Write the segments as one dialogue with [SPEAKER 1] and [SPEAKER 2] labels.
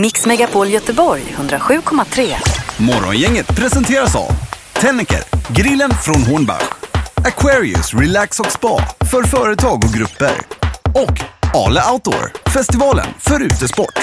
[SPEAKER 1] Mix Megapol Göteborg 107,3.
[SPEAKER 2] Morgongänget presenteras av Tennecker, grillen från Hornbach. Aquarius Relax och Spa för företag och grupper. Och Ale Outdoor, festivalen för utesport.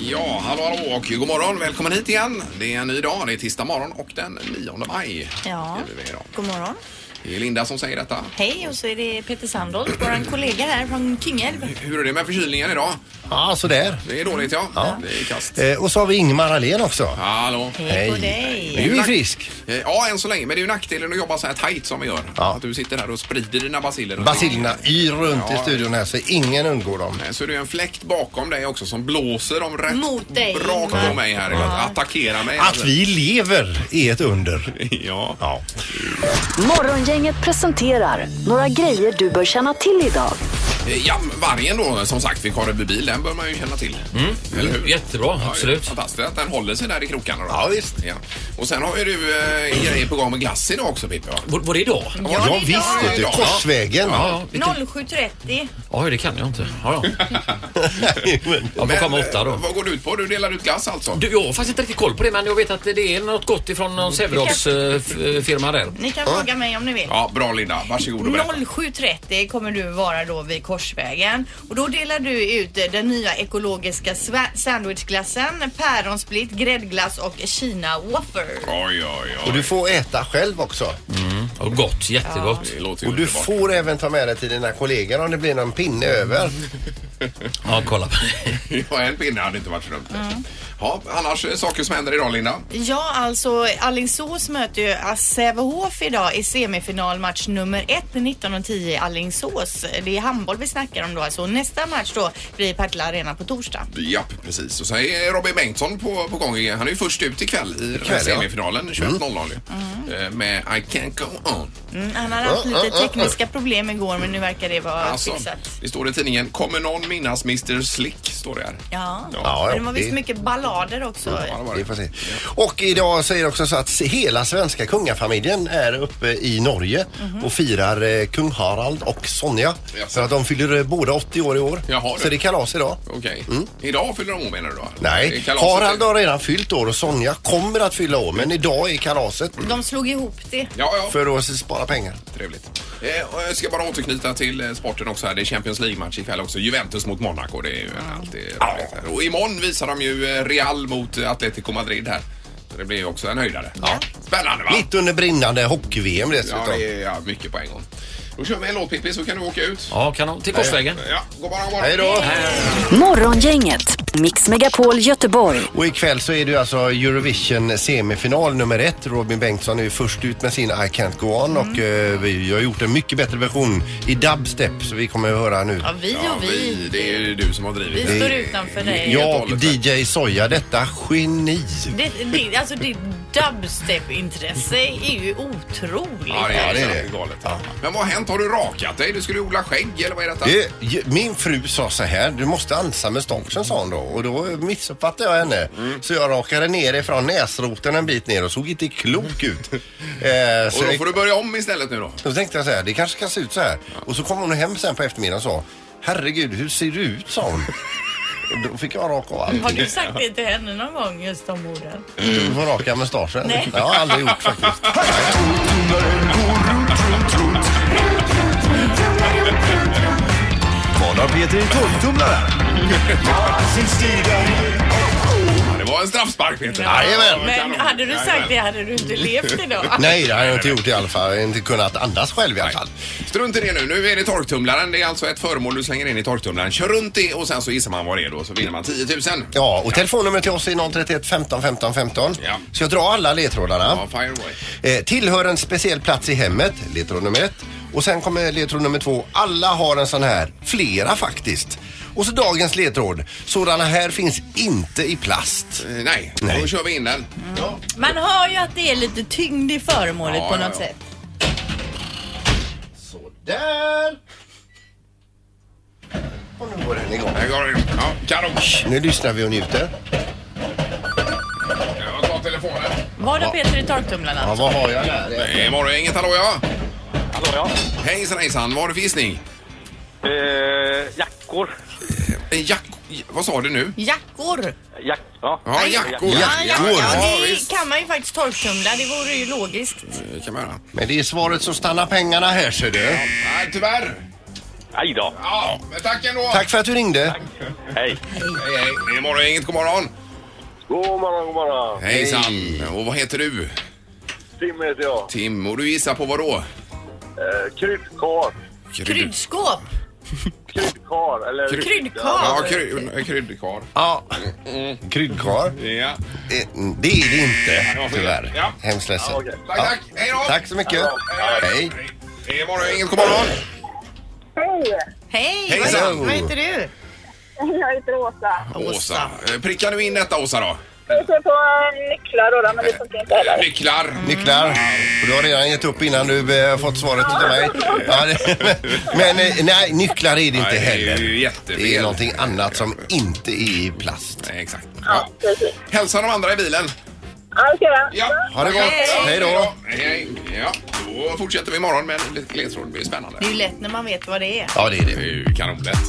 [SPEAKER 3] Ja, hallå, hallå och god morgon. Välkommen hit igen. Det är en ny dag. Det är tisdag morgon och den 9 maj.
[SPEAKER 4] Ja.
[SPEAKER 3] skriver vi idag.
[SPEAKER 4] God morgon.
[SPEAKER 3] Det är Linda som säger detta.
[SPEAKER 4] Hej, och så är det Peter Sandholt, vår kollega här från Kungälv.
[SPEAKER 3] Hur är det med förkylningen idag?
[SPEAKER 5] Ja, sådär.
[SPEAKER 3] Det är dåligt, ja. Det är kast.
[SPEAKER 5] Eh, och så har vi Ingmar Ahlén också.
[SPEAKER 3] Hallå.
[SPEAKER 4] Hej på
[SPEAKER 5] Nu
[SPEAKER 4] dig.
[SPEAKER 5] är vi frisk.
[SPEAKER 3] Eh, Ja, än så länge. Men det är ju nackdelen att jobba så här tajt som vi gör.
[SPEAKER 5] Ja.
[SPEAKER 3] Att du sitter här och sprider dina basiler.
[SPEAKER 5] Basilerna yr runt
[SPEAKER 3] Ja.
[SPEAKER 5] i studion här så ingen undgår dem.
[SPEAKER 3] Eh, Så är det ju en fläkt bakom dig också som blåser om rätt
[SPEAKER 4] Mot dig,
[SPEAKER 3] rakt
[SPEAKER 4] Ingmar.
[SPEAKER 3] på mig här. Att attackera mig.
[SPEAKER 5] Att vi lever är ett under.
[SPEAKER 3] Ja.
[SPEAKER 5] Ja.
[SPEAKER 1] Morgongänget presenterar några grejer du bör känna till idag.
[SPEAKER 3] Eh, ja, vargen då som sagt vid Karleby den bör man ju känna till.
[SPEAKER 5] Mm.
[SPEAKER 3] Eller hur?
[SPEAKER 6] Jättebra,
[SPEAKER 3] Ja,
[SPEAKER 6] absolut.
[SPEAKER 3] Fantastiskt att den håller sig där i krokarna. Då.
[SPEAKER 5] Ja, visst.
[SPEAKER 3] Ja. Och sen har ju du eh, grejer på gång med glass idag också Pippi. va?
[SPEAKER 6] Var, var det idag?
[SPEAKER 4] Ja, det
[SPEAKER 5] Ja,
[SPEAKER 4] är
[SPEAKER 5] visst
[SPEAKER 4] idag.
[SPEAKER 5] vet du. Korsvägen.
[SPEAKER 6] Ja, vilken...
[SPEAKER 4] 07.30.
[SPEAKER 6] ja, det kan jag inte. Ja, ja.
[SPEAKER 5] Nej, men-
[SPEAKER 6] Jag får komma
[SPEAKER 3] eh,
[SPEAKER 6] åtta då.
[SPEAKER 3] Vad går du ut på? Du delar ut glass alltså?
[SPEAKER 6] Du, jag har faktiskt inte riktigt koll på det men jag vet att det är något gott ifrån någon eh, Sävedalsfirma där.
[SPEAKER 4] Ni kan fråga mig om ni vill.
[SPEAKER 3] Ja, bra Linda. Varsågod och berätta.
[SPEAKER 4] 07.30 kommer du vara då vid Korsvägen och då delar du ut eh, den nya ekologiska sva- sandwichglassen, päronsplitt, gräddglass och Kina wafer.
[SPEAKER 3] Oj, oj,
[SPEAKER 5] Och
[SPEAKER 3] oj.
[SPEAKER 5] du får äta själv också.
[SPEAKER 6] Ja, gott, jättegott.
[SPEAKER 3] Det låter ju
[SPEAKER 5] Och du
[SPEAKER 3] underbart.
[SPEAKER 5] får även ta med dig till dina kollegor om det blir någon pinne över.
[SPEAKER 6] Ja, kolla.
[SPEAKER 3] Ja, en pinne hade inte varit så dumt. Ja, annars eh, saker som händer idag Linda.
[SPEAKER 4] Ja, alltså Alingsås möter ju AS Sävehof idag i semifinalmatch nummer 1, 19.10 i Alingsås. Det är handboll vi snackar om då alltså. Och Nästa match då blir Partille Arena på torsdag.
[SPEAKER 3] Ja, precis. Och sen är Robin Bengtsson på, på gång. igen. Han är ju först ut ikväll i den här
[SPEAKER 5] Ikväll, ja. Mm.
[SPEAKER 3] semifinalen 21.00 ju. Eh, Med I can't go on.
[SPEAKER 4] Mm, han hade haft lite tekniska problem igår men nu verkar det vara
[SPEAKER 3] Alltså,
[SPEAKER 4] fixat.
[SPEAKER 3] det står i tidningen. Kommer någon minnas Mr Slick? Står det här.
[SPEAKER 4] Ja,
[SPEAKER 5] Ja,
[SPEAKER 4] men det var visst
[SPEAKER 5] det-
[SPEAKER 4] mycket ballader också.
[SPEAKER 3] Ja, det var
[SPEAKER 5] Vi
[SPEAKER 3] det.
[SPEAKER 5] får se. Och idag så är det också så att hela svenska kungafamiljen är uppe i Norge och firar eh, kung Harald och Sonja.
[SPEAKER 3] Mhm. Jaså.
[SPEAKER 5] För att de fyller eh, båda 80 år i år.
[SPEAKER 3] Jaha, du.
[SPEAKER 5] Så det är kalas idag.
[SPEAKER 3] Okej. Idag fyller de år menar du då? Det är
[SPEAKER 5] Mm. Nej,
[SPEAKER 3] kalaset.
[SPEAKER 5] Harald har redan fyllt år och Sonja kommer att fylla år men idag är kalaset
[SPEAKER 4] De slog ihop det.
[SPEAKER 3] Ja, ja.
[SPEAKER 5] för att spara pengar.
[SPEAKER 3] Trevligt. Eh, och jag ska bara återknyta till eh, sporten också. Här. Det är Champions League-match ikväll också. Juventus mot Monaco. Det är
[SPEAKER 4] Mm.
[SPEAKER 3] ju alltid roligt. här. Och imorgon visar de ju eh, Real mot eh, Atletico Madrid här. Så det blir ju också en höjdare. Ja. Spännande va?
[SPEAKER 5] Mitt under brinnande hockey-VM
[SPEAKER 3] Ja,
[SPEAKER 5] dessutom.
[SPEAKER 3] det är ja, mycket på en gång. Då kör vi en låt Pippi så kan du åka ut.
[SPEAKER 6] Ja, kanon. Till Korsvägen.
[SPEAKER 3] Ja, gå bara, gå bara.
[SPEAKER 5] Hej då!
[SPEAKER 1] Morgongänget, Mix Megapol Göteborg.
[SPEAKER 5] Och ikväll så är det ju alltså Eurovision semifinal nummer ett. Robin Bengtsson är ju först ut med sin I can't go on och
[SPEAKER 3] Mm.
[SPEAKER 5] eh, vi har gjort en mycket bättre version i dubstep så vi kommer att höra nu.
[SPEAKER 4] Ja, vi
[SPEAKER 3] Ja,
[SPEAKER 4] och
[SPEAKER 3] vi,
[SPEAKER 4] vi.
[SPEAKER 3] det är ju du som har
[SPEAKER 4] Vi
[SPEAKER 3] drivit det.
[SPEAKER 4] står utanför dig.
[SPEAKER 5] Jag
[SPEAKER 3] hållet
[SPEAKER 5] och
[SPEAKER 3] där.
[SPEAKER 5] DJ Soja, detta geni.
[SPEAKER 4] Det, det, alltså ditt dubstep-intresse är ju otroligt.
[SPEAKER 3] Ja, det är, det
[SPEAKER 5] det är
[SPEAKER 3] är
[SPEAKER 5] det.
[SPEAKER 3] galet. Men vad har hänt? Har du rakat dig? Du skulle odla skägg eller vad är detta?
[SPEAKER 5] Det, min fru sa så här, du måste ansa med stången sa hon då och då missuppfattade jag henne.
[SPEAKER 3] Mm.
[SPEAKER 5] Så jag rakade ner ifrån näsroten en bit ner och såg inte klok ut. Eh, så
[SPEAKER 3] Och då
[SPEAKER 5] jag-
[SPEAKER 3] får du börja om istället nu då.
[SPEAKER 5] Då tänkte jag så här, det kanske ska se ut så här. Och så kom hon hem sen på eftermiddagen och sa, herregud hur ser du ut sa hon. Och då fick jag raka av
[SPEAKER 4] Har
[SPEAKER 5] allting.
[SPEAKER 4] du sagt det till henne någon gång just de orden?
[SPEAKER 5] Du får raka mustaschen.
[SPEAKER 4] Nej.
[SPEAKER 5] Jag har aldrig gjort faktiskt.
[SPEAKER 2] Vad har Peter i tolvtumlaren?
[SPEAKER 3] Ja, det var en straffspark Peter.
[SPEAKER 5] Jajamän.
[SPEAKER 4] Men
[SPEAKER 3] Kanon.
[SPEAKER 4] hade du sagt
[SPEAKER 3] Jajamän.
[SPEAKER 4] det hade du inte levt idag.
[SPEAKER 5] Nej, det har jag inte gjort i alla fall. Jag har inte kunnat andas själv i alla fall.
[SPEAKER 3] Strunt i det nu. Nu är det torktumlaren. Det är alltså ett föremål du slänger in i torktumlaren. Kör runt det och sen så gissar man vad det är då. Så vinner man 10 000.
[SPEAKER 5] Ja, och telefonnumret till oss är 031 15 15 15.
[SPEAKER 3] Ja.
[SPEAKER 5] Så jag drar alla
[SPEAKER 3] Ja,
[SPEAKER 5] ledtrådarna.
[SPEAKER 3] fire away.
[SPEAKER 5] Eh, tillhör en speciell plats i hemmet, ledtråd nummer ett. Och sen kommer ledtråd nummer två. Alla har en sån här, flera faktiskt. Och så dagens ledtråd. Sådana här finns inte i plast.
[SPEAKER 3] Eh, Nej,
[SPEAKER 5] Nej.
[SPEAKER 3] då kör vi in den.
[SPEAKER 4] Man hör ju att det är lite tyngd i föremålet
[SPEAKER 3] Ja,
[SPEAKER 4] på
[SPEAKER 3] ja,
[SPEAKER 4] något
[SPEAKER 3] ja.
[SPEAKER 4] sätt.
[SPEAKER 5] Sådär! Och nu går den igång.
[SPEAKER 3] Där går den. Ja, kanon.
[SPEAKER 5] Nu lyssnar vi och njuter.
[SPEAKER 3] Jag tar telefonen.
[SPEAKER 4] Var det Peter i torktumlarna?
[SPEAKER 5] Ja, vad har jag där?
[SPEAKER 3] Det är morgongänget. Hallå ja.
[SPEAKER 7] Hallå ja.
[SPEAKER 3] Hejsan hejsan. Vad har du för gissning?
[SPEAKER 7] Eh, jackor.
[SPEAKER 3] En jack- Vad sa du nu?
[SPEAKER 4] Jackor!
[SPEAKER 7] Jack, ja.
[SPEAKER 3] Ja, jackor.
[SPEAKER 4] Ja, ja, ja, det
[SPEAKER 3] visst.
[SPEAKER 4] kan man ju faktiskt torktumla. Det vore ju logiskt.
[SPEAKER 3] Det kan man göra.
[SPEAKER 5] Men det är svaret så stannar pengarna här ser du.
[SPEAKER 3] Nej, tyvärr.
[SPEAKER 7] Aj då.
[SPEAKER 3] Ja, men tack ändå.
[SPEAKER 5] Tack för att du ringde.
[SPEAKER 7] Hej.
[SPEAKER 3] Hej, hej. Det är morgon, inget god morgon.
[SPEAKER 7] God morgon, god morgon.
[SPEAKER 3] Hejsan. Och vad heter du?
[SPEAKER 7] Tim heter jag.
[SPEAKER 3] Tim. Och du gissar på vad då?
[SPEAKER 7] Eh, kryddkar.
[SPEAKER 4] Kryddskåp!
[SPEAKER 7] Kryddkar. Eller...
[SPEAKER 3] Krydd-
[SPEAKER 4] Kryddkar!
[SPEAKER 3] Ja, kry- eh, kryddkar.
[SPEAKER 5] Ja. Kryddkarl?
[SPEAKER 3] Ja.
[SPEAKER 5] Eh, Det är det inte
[SPEAKER 3] Mm. Ja.
[SPEAKER 5] tyvärr. Hemskt ledsen.
[SPEAKER 7] Ja, okej.
[SPEAKER 3] Tack,
[SPEAKER 5] Ja.
[SPEAKER 3] tack. Hej då.
[SPEAKER 5] Tack så mycket. Hej.
[SPEAKER 3] Det är morgon, inget god morgon.
[SPEAKER 8] Hej!
[SPEAKER 4] Hej! Vad,
[SPEAKER 3] Hejsan.
[SPEAKER 4] vad heter du?
[SPEAKER 8] Jag heter Åsa.
[SPEAKER 3] Åsa. Eh, Prickar du in detta, Åsa, då?
[SPEAKER 8] Jag sitter på eh, nycklar och då, men det funkar inte
[SPEAKER 3] Eh,
[SPEAKER 8] heller.
[SPEAKER 3] Nycklar.
[SPEAKER 5] Nycklar. Och du har redan gett upp innan du eh, fått svaret till mig. Ja, det, men eh, nej, nycklar är det inte
[SPEAKER 3] Nej, det är
[SPEAKER 5] heller.
[SPEAKER 3] ju jättefel.
[SPEAKER 5] Det är någonting annat som inte är i plast.
[SPEAKER 3] Nej, exakt.
[SPEAKER 8] Ja,
[SPEAKER 3] Ja.
[SPEAKER 8] precis.
[SPEAKER 3] Hälsa de andra i bilen.
[SPEAKER 8] Ja, det ska jag.
[SPEAKER 3] Ja.
[SPEAKER 5] Ha det gott. Hej då.
[SPEAKER 3] Hej, hej. Ja, då fortsätter vi imorgon med lite ledtråd. Det blir spännande.
[SPEAKER 4] Det är ju lätt när man vet vad det är.
[SPEAKER 5] Ja, det är
[SPEAKER 3] Det
[SPEAKER 5] det.
[SPEAKER 3] är ju kanonlätt.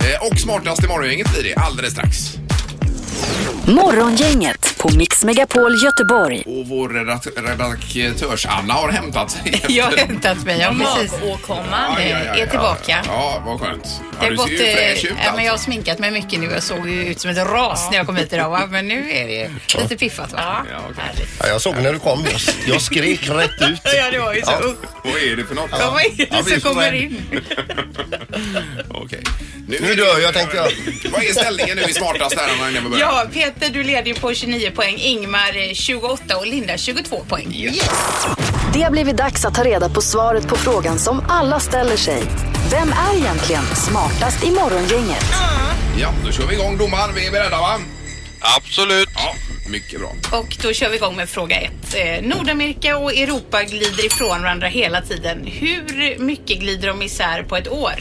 [SPEAKER 3] Eh, Och smartast i morgongänget blir det alldeles strax.
[SPEAKER 1] Morgongänget på Mix Megapol Göteborg.
[SPEAKER 3] Och vår redat- redaktörs-Anna har hämtat sig. efter-
[SPEAKER 9] Jag har hämtat mig. Jag precis.
[SPEAKER 4] Matåkomman
[SPEAKER 3] Ja, ja, ja, ja.
[SPEAKER 4] är tillbaka.
[SPEAKER 3] Ja, vad skönt.
[SPEAKER 9] Det
[SPEAKER 3] Ja,
[SPEAKER 9] har
[SPEAKER 3] du
[SPEAKER 9] gått,
[SPEAKER 3] ser ju fräsch
[SPEAKER 9] eh,
[SPEAKER 3] ut.
[SPEAKER 9] ja, men jag har
[SPEAKER 3] alltså.
[SPEAKER 9] sminkat mig mycket nu. Jag såg ju ut som ett ras när jag kom hit idag. Va? Men nu är det lite piffat va?
[SPEAKER 3] Ja, okej.
[SPEAKER 5] Ja, jag såg när du kom. Jag- Jag skrek rätt ut.
[SPEAKER 9] Ja, det var ju så.
[SPEAKER 5] Ja.
[SPEAKER 9] Upp.
[SPEAKER 3] Vad är det för något?
[SPEAKER 9] Ja, vad är det
[SPEAKER 5] Ja, vi
[SPEAKER 9] som
[SPEAKER 5] är så
[SPEAKER 9] kommer
[SPEAKER 5] rädd.
[SPEAKER 9] in?
[SPEAKER 3] Okej.
[SPEAKER 5] Nu dör jag, tänkte jag.
[SPEAKER 3] Vad är ställningen nu i smartast här Anna, innan vi börjar?
[SPEAKER 9] Ja, Peter du leder ju på 29 poäng, Ingmar eh, 28 och Linda 22 poäng.
[SPEAKER 1] Det har blivit dags att ta reda på svaret på frågan som alla ställer sig. Vem är egentligen smartast i morgongänget?
[SPEAKER 3] Ja, då kör vi igång domaren. Vi är beredda va?
[SPEAKER 10] Absolut.
[SPEAKER 3] Ja, mycket bra.
[SPEAKER 9] Och då kör vi igång med fråga ett. Eh, Nordamerika och Europa glider ifrån varandra hela tiden. Hur mycket glider de isär på ett år?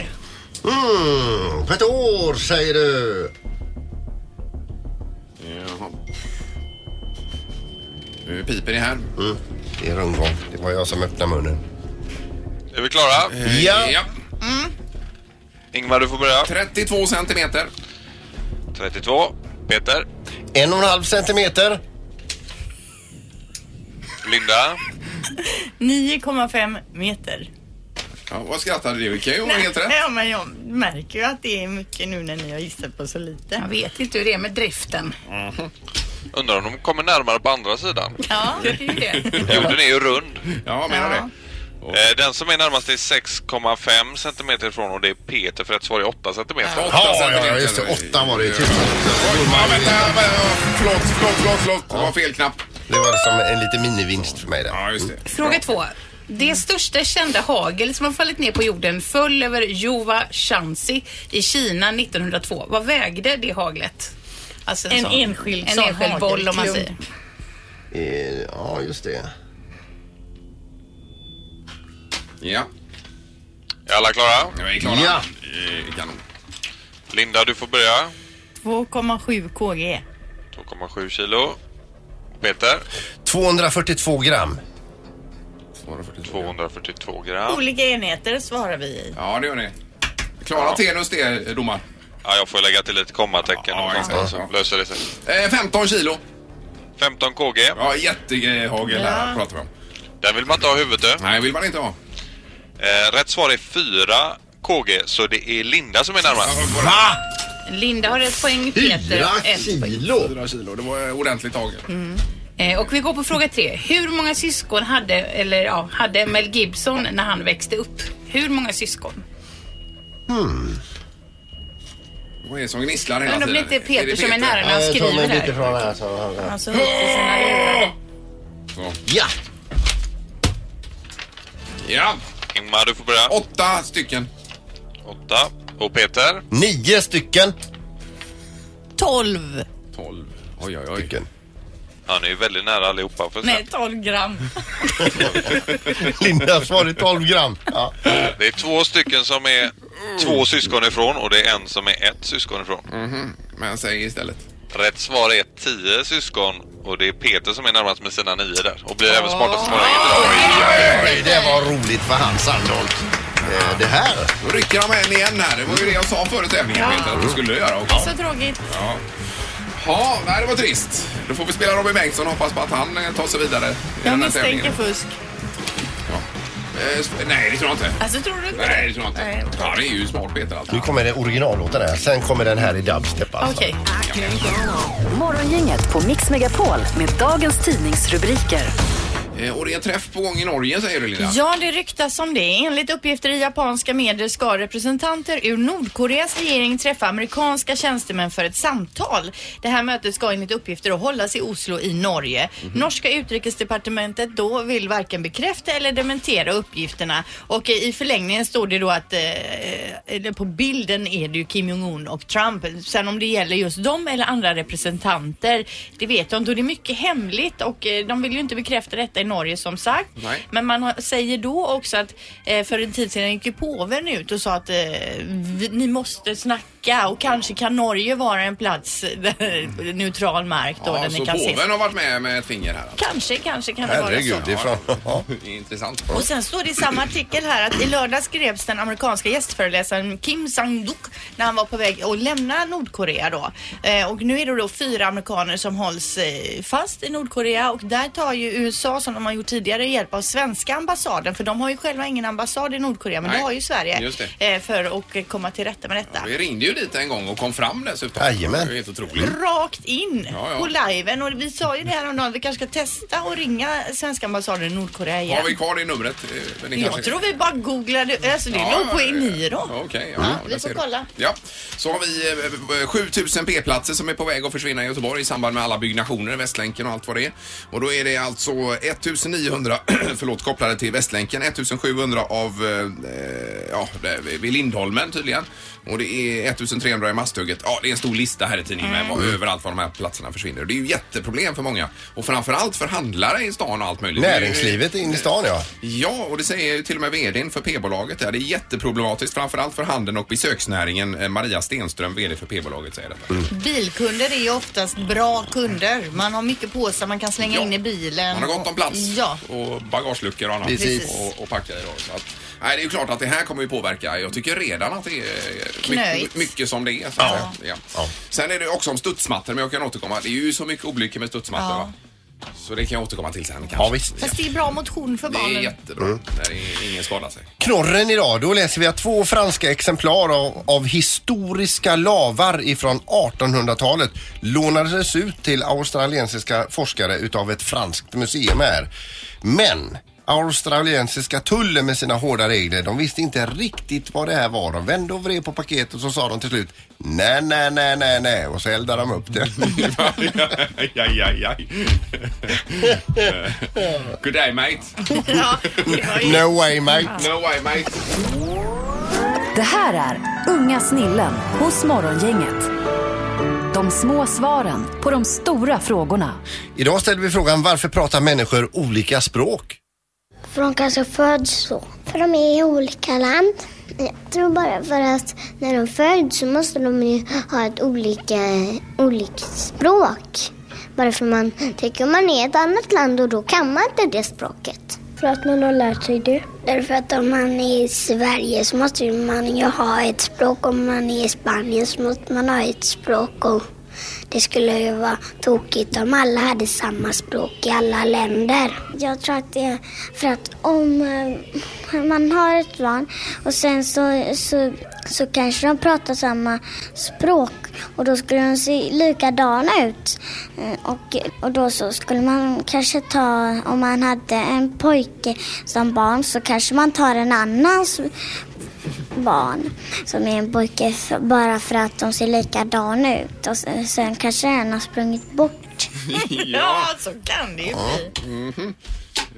[SPEAKER 5] Mm, på ett år säger du.
[SPEAKER 3] Jaha. Nu piper det här.
[SPEAKER 5] Mm, det är rundgång. Det var jag som öppnade munnen. Eh,
[SPEAKER 10] Är vi klara?
[SPEAKER 5] Ja. Mm.
[SPEAKER 3] Ja,
[SPEAKER 10] Ingmar, du får börja.
[SPEAKER 3] 32 centimeter.
[SPEAKER 10] 32. Peter.
[SPEAKER 5] En och en halv centimeter.
[SPEAKER 10] Linda.
[SPEAKER 4] 9,5 meter.
[SPEAKER 3] Ja, vad skrattade du? Det kan ju vara helt rätt.
[SPEAKER 4] Ja, men jag märker ju att det är mycket nu när ni har gissat på så lite.
[SPEAKER 9] Jag vet inte hur det är med driften.
[SPEAKER 10] Undrar om de kommer närmare på andra sidan.
[SPEAKER 9] Ja, det är ju det.
[SPEAKER 10] Jorden är ju rund.
[SPEAKER 3] Ja, menar
[SPEAKER 4] Ja.
[SPEAKER 3] det.
[SPEAKER 10] Eh, Den som är närmast är 6,5 centimeter ifrån och det är Peter för rätt svar är 8 centimeter.
[SPEAKER 3] Åtta
[SPEAKER 5] Ja, ja,
[SPEAKER 3] centimeter.
[SPEAKER 5] ja, just det. Åtta var det ju.
[SPEAKER 3] Ja. Ja, vänta, vänta. Förlåt, förlåt, förlåt, förlåt. Det var fel knapp.
[SPEAKER 5] Det var som en liten minivinst för mig där.
[SPEAKER 3] Ja, just det.
[SPEAKER 9] Fråga två. Det största kända hagel som har fallit ner på jorden föll över Jova Shanxi i Kina 1902. Vad vägde det haglet? Alltså
[SPEAKER 4] En enskild
[SPEAKER 9] En
[SPEAKER 4] sån
[SPEAKER 9] enskild boll om man
[SPEAKER 4] hagelklump.
[SPEAKER 9] säger.
[SPEAKER 5] Eh, Ja, just det.
[SPEAKER 3] Ja,
[SPEAKER 10] Är alla klara?
[SPEAKER 3] nu är vi klara.
[SPEAKER 5] Ja.
[SPEAKER 3] Eh, Kanon.
[SPEAKER 10] Linda, du får börja.
[SPEAKER 4] 2,7 kg.
[SPEAKER 10] 2,7 kilo. Peter.
[SPEAKER 5] 242 gram.
[SPEAKER 3] 242.
[SPEAKER 10] 242 gram.
[SPEAKER 4] Olika enheter svarar vi i.
[SPEAKER 3] Ja, det gör ni. Klara Tenus det, eh, domar.
[SPEAKER 10] Ja, jag får lägga till ett kommatecken
[SPEAKER 3] Ja,
[SPEAKER 10] någonstans
[SPEAKER 3] exakt.
[SPEAKER 10] så löser det sig.
[SPEAKER 3] Eh, 15 kilo.
[SPEAKER 10] 15 kg.
[SPEAKER 3] Ja, jättehagel här
[SPEAKER 4] Ja.
[SPEAKER 3] pratar vi om.
[SPEAKER 10] Den vill man inte ha i huvudet. du.
[SPEAKER 3] Nej, vill man inte ha.
[SPEAKER 10] Eh, Rätt svar är 4 kg så det är Linda som är närmast.
[SPEAKER 5] Va?
[SPEAKER 9] Linda har ett poäng, Peter
[SPEAKER 5] Fyra
[SPEAKER 9] ett poäng.
[SPEAKER 5] kilo?
[SPEAKER 3] 4 kilo, det var eh, ordentligt hagel.
[SPEAKER 9] Eh, Och vi går på fråga tre. Hur många syskon hade, eller, ja, hade Mel Gibson när han växte upp? Hur många syskon?
[SPEAKER 3] Vad är det som gnisslar hela
[SPEAKER 9] Men om
[SPEAKER 3] tiden?
[SPEAKER 9] det inte är Peter som är nära när
[SPEAKER 5] Ja,
[SPEAKER 9] han
[SPEAKER 5] jag tar Eh, mig
[SPEAKER 9] skriver
[SPEAKER 5] lite
[SPEAKER 9] här.
[SPEAKER 5] från här. Så.
[SPEAKER 4] Alltså, upp till sina lurar.
[SPEAKER 5] Ja.
[SPEAKER 3] Ja,
[SPEAKER 10] Ingmar, du får börja.
[SPEAKER 3] åtta stycken.
[SPEAKER 10] 8. Och Peter.
[SPEAKER 5] Nio stycken.
[SPEAKER 4] 12.
[SPEAKER 3] 12. Oj, oj, oj.
[SPEAKER 10] Han är ju väldigt nära allihopa. För
[SPEAKER 4] Nej, 12 gram.
[SPEAKER 5] Linda svarade 12 gram. Ja.
[SPEAKER 10] Det är två stycken som är två syskon ifrån och det är en som är ett syskon ifrån.
[SPEAKER 3] Men säg istället.
[SPEAKER 10] Rätt svar är 10 syskon och det är Peter som är närmast med sina nio där. Och blir även smartast i morgon.
[SPEAKER 5] Det var roligt för Hans Sandholt. eh, det här.
[SPEAKER 3] Då rycker han med en igen här. Det var ju det jag sa före tävlingen
[SPEAKER 4] Ja. Alltså-
[SPEAKER 3] Peter, att du skulle göra också.
[SPEAKER 4] Så tråkigt.
[SPEAKER 3] Ja. Ja, nej, det var trist. Då får vi spela Robin Bengtsson och hoppas på att han eh, tar sig vidare i
[SPEAKER 4] Jag
[SPEAKER 3] den här
[SPEAKER 4] misstänker
[SPEAKER 3] tävlingen.
[SPEAKER 4] fusk.
[SPEAKER 3] Eh, sp- Nej, det tror jag inte.
[SPEAKER 4] Alltså tror du inte
[SPEAKER 3] Nej,
[SPEAKER 4] det?
[SPEAKER 3] det tror jag
[SPEAKER 4] Nej.
[SPEAKER 3] inte. Ja, det är ju smart Peter alltså.
[SPEAKER 5] Nu kommer den originallåten här, sen kommer den här i dubstep alltså.
[SPEAKER 4] Okej.
[SPEAKER 1] Morgongänget på Mix Megapol med dagens tidningsrubriker.
[SPEAKER 3] Eh, Och det är en träff på gång i Norge säger du Linda.
[SPEAKER 4] Ja, det ryktas om det. Enligt uppgifter i japanska medier ska representanter ur Nordkoreas regering träffa amerikanska tjänstemän för ett samtal. Det här mötet ska enligt uppgifter att hållas i Oslo i Norge. Norska utrikesdepartementet då vill varken bekräfta eller dementera uppgifterna och eh, i förlängningen står det då att eh, eh, på bilden är det ju Kim Jong-Un och Trump. Sen om det gäller just dem eller andra representanter, det vet jag inte. Och det är mycket hemligt och eh, de vill ju inte bekräfta detta i Norge som sagt.
[SPEAKER 3] Nej.
[SPEAKER 4] Men man har, säger då också att eh, för en tid sedan gick ju påven ut och sa att eh, vi, ni måste snacka och kanske kan Norge vara en plats, där- neutral mark då,
[SPEAKER 3] Ja,
[SPEAKER 4] där ni
[SPEAKER 3] så
[SPEAKER 4] kan ses.
[SPEAKER 3] påven har varit med med ett finger här. alltså.
[SPEAKER 4] Kanske, kanske kan det vara så.
[SPEAKER 5] Herregud, det är från... Ja.
[SPEAKER 3] Det är Intressant.
[SPEAKER 4] Och sen står det i samma artikel här att i lördags greps den amerikanska gästföreläsaren Kim Sang-duk när han var på väg att lämna Nordkorea då. Eh, och nu är det då fyra amerikaner som hålls eh, fast i Nordkorea och där tar ju USA som de har gjort tidigare hjälp av svenska ambassaden för de har ju själva ingen ambassad i Nordkorea men
[SPEAKER 3] Nej,
[SPEAKER 4] det har ju Sverige
[SPEAKER 3] just
[SPEAKER 4] eh, för att eh, komma till rätta med detta.
[SPEAKER 3] Vi ringde ju dit en gång och kom fram dessutom.
[SPEAKER 5] Jajamän.
[SPEAKER 3] Det var ju helt
[SPEAKER 4] Mm.
[SPEAKER 3] otroligt.
[SPEAKER 4] Rakt in
[SPEAKER 3] Ja, ja.
[SPEAKER 4] på liven och vi sa ju det här om dagen vi kanske ska testa och ringa svenska ambassaden i Nordkorea igen.
[SPEAKER 3] Har vi kvar det numret? eh, men ni kanske-
[SPEAKER 4] Jag tror vi bara googlade, alltså det låg på Eniro.
[SPEAKER 3] Okej, ja,
[SPEAKER 4] Ja,
[SPEAKER 3] där
[SPEAKER 4] vi
[SPEAKER 3] ser
[SPEAKER 4] får
[SPEAKER 3] du.
[SPEAKER 4] kolla.
[SPEAKER 3] Ja, så har vi eh, eh, 7000 p-platser som är på väg att försvinna i Göteborg i samband med alla byggnationer, Västlänken och allt vad det är. Och då är det alltså 1900, förlåt, kopplade till Västlänken, 1700 av, eh, ja, det- vid Lindholmen tydligen. Och det är 1300 i Masthugget. Ja, det är en stor lista här i tidningen med
[SPEAKER 4] Mm.
[SPEAKER 3] vad- överallt var de här platserna försvinner. Och Det är ju jätteproblem för många. Och framförallt för handlare i stan och allt möjligt.
[SPEAKER 5] Näringslivet in i stan ja.
[SPEAKER 3] Ja, och det säger ju till och med vdn för P-bolaget där. Det är jätteproblematiskt, framförallt för handeln och besöksnäringen. Eh, Maria Stenström, vd för P-bolaget, säger detta.
[SPEAKER 4] Mm. Bilkunder är ju oftast bra kunder. Man har mycket påsar man kan slänga
[SPEAKER 3] Ja.
[SPEAKER 4] in i bilen.
[SPEAKER 3] Man har gott om plats
[SPEAKER 4] Ja.
[SPEAKER 3] och bagageluckor och annat.
[SPEAKER 5] Precis.
[SPEAKER 3] Och, och packa i då. Så att, nej, det är ju klart att det här kommer ju påverka. Jag tycker redan att det är mycket,
[SPEAKER 4] Knöigt.
[SPEAKER 3] mycket som det är. Så att säga. Ja. Sen är det också om studsmattor, men jag kan återkomma. Det är ju så mycket olyckor med studsmattor.
[SPEAKER 4] Ja.
[SPEAKER 3] Va? Så det kan jag återkomma till sen kanske.
[SPEAKER 5] Ja, visst. Mm.
[SPEAKER 4] Fast det är bra motion för
[SPEAKER 3] Det är
[SPEAKER 4] barnen.
[SPEAKER 3] jättebra när det är- ingen skadar sig.
[SPEAKER 5] Knorren idag, då läser vi att två franska exemplar av, av historiska lavar ifrån 1800-talet lånades ut till australiensiska forskare utav ett franskt museum här. Men australiensiska tullen med sina hårda regler, de visste inte riktigt vad det här var. De vände och vred på paketet och så sa de till slut nej, nej, nej, nej, nej och så eldade de upp det.
[SPEAKER 3] aj, aj, aj, aj. Good day mate.
[SPEAKER 4] Ja, det var ju-
[SPEAKER 5] no way mate.
[SPEAKER 3] No way mate.
[SPEAKER 1] Det här är Unga snillen hos Morgongänget. De små svaren på de stora frågorna.
[SPEAKER 5] Idag ställer vi frågan varför pratar människor olika språk?
[SPEAKER 11] För de kanske föds så. För de är i olika land. Jag tror bara för att när de föds så måste de ju ha ett olika, olikt språk. Bara för man tycker man är i ett annat land och då kan man inte det språket. För att man har lärt sig det? Därför att om man är i Sverige så måste ju man ju ha ett språk. Om man är i Spanien så måste man ha ett språk. Och det skulle ju vara tokigt om alla hade samma språk i alla länder. Jag tror att det är för att om eh, man har ett barn och sen så, så, så kanske de pratar samma språk och då skulle de se likadana ut. Eh, Och, och då så skulle man kanske ta, om man hade en pojke som barn så kanske man tar en annans barn som är en pojke f- bara för att de ser likadana ut och sen, sen kanske en har sprungit bort.
[SPEAKER 4] ja, så kan det ju bli.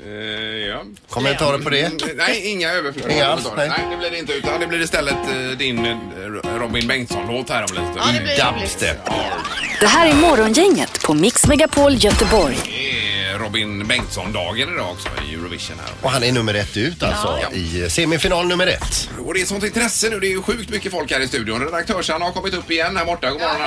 [SPEAKER 3] Eh, ja.
[SPEAKER 5] Kommentarer på det?
[SPEAKER 3] Mm, Nej, inga överflödiga
[SPEAKER 5] Inga alls,
[SPEAKER 3] kommentarer.
[SPEAKER 5] nej.
[SPEAKER 3] nej, det blir det inte. Utan det blir istället eh, din eh, Robin Bengtsson-låt här om lite. Mm.
[SPEAKER 4] Ja, det blir roligt.
[SPEAKER 5] Dubstep.
[SPEAKER 1] Det här är Morgongänget på Mix Megapol Göteborg.
[SPEAKER 3] Eh, Robin Bengtsson-dagen idag också i Eurovision här.
[SPEAKER 5] Och han är nummer ett ut alltså
[SPEAKER 3] Ja.
[SPEAKER 5] i semifinal nummer ett.
[SPEAKER 3] Och det är sånt intresse nu. Det är ju sjukt mycket folk här i studion. Redaktörs-Anna har kommit upp igen här borta. God morgon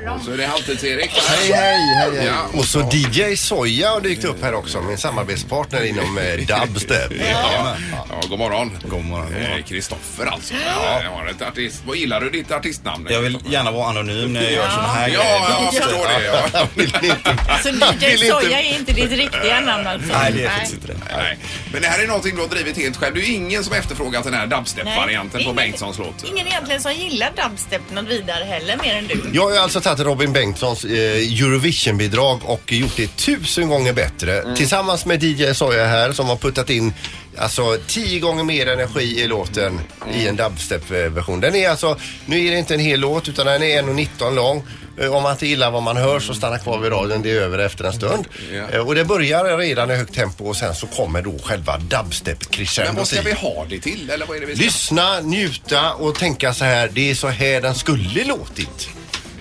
[SPEAKER 3] Anna. Och så är det Halvtids-Erik.
[SPEAKER 5] Hej, hej, hej, hej.
[SPEAKER 3] Ja.
[SPEAKER 5] Och så DJ Soja har dykt upp här också, min samarbetspartner inom eh, dubstep.
[SPEAKER 3] Ja. ja, god morgon. God morgon. Kristoffer alltså. Ja. Jag har ett artist. Vad gillar du ditt artistnamn? Jag vill
[SPEAKER 12] gärna vara anonym när jag gör såna
[SPEAKER 3] Ja,
[SPEAKER 12] här
[SPEAKER 3] ja jag förstår det. Ja.
[SPEAKER 4] Så DJ
[SPEAKER 3] Vill inte-
[SPEAKER 4] Soja är inte ditt riktiga namn alltså?
[SPEAKER 3] Nej, det är faktiskt inte Nej, nej. Men det här är någonting du har drivit helt själv. Det är ju ingen som efterfrågat den här dubstep-varianten på
[SPEAKER 4] Ingen-
[SPEAKER 3] Bengtssons låt.
[SPEAKER 4] Ingen egentligen som gillar dubstep något vidare heller mer än du.
[SPEAKER 5] Jag har ju alltså tagit Robin Bengtssons eh, Eurovision-bidrag och gjort det tusen gånger bättre.
[SPEAKER 3] Mm.
[SPEAKER 5] Tillsammans med DJ Soja här som har puttat in alltså tio gånger mer energi i låten
[SPEAKER 3] Mm.
[SPEAKER 5] i en dubstep-version. Den är alltså, nu är det inte en hel låt utan den är 1.19 lång. Eh, Om man inte gillar vad man hör så stanna kvar vid radion, det är över efter en stund. Eh, Och det börjar redan i högt tempo och sen så kommer då själva
[SPEAKER 3] Men vad
[SPEAKER 5] dubstep-crescendot
[SPEAKER 3] ska vi
[SPEAKER 5] i.
[SPEAKER 3] ha det till? Eller vad är det vi ska...
[SPEAKER 5] Lyssna, njuta och tänka så här, det är så här den skulle låtit.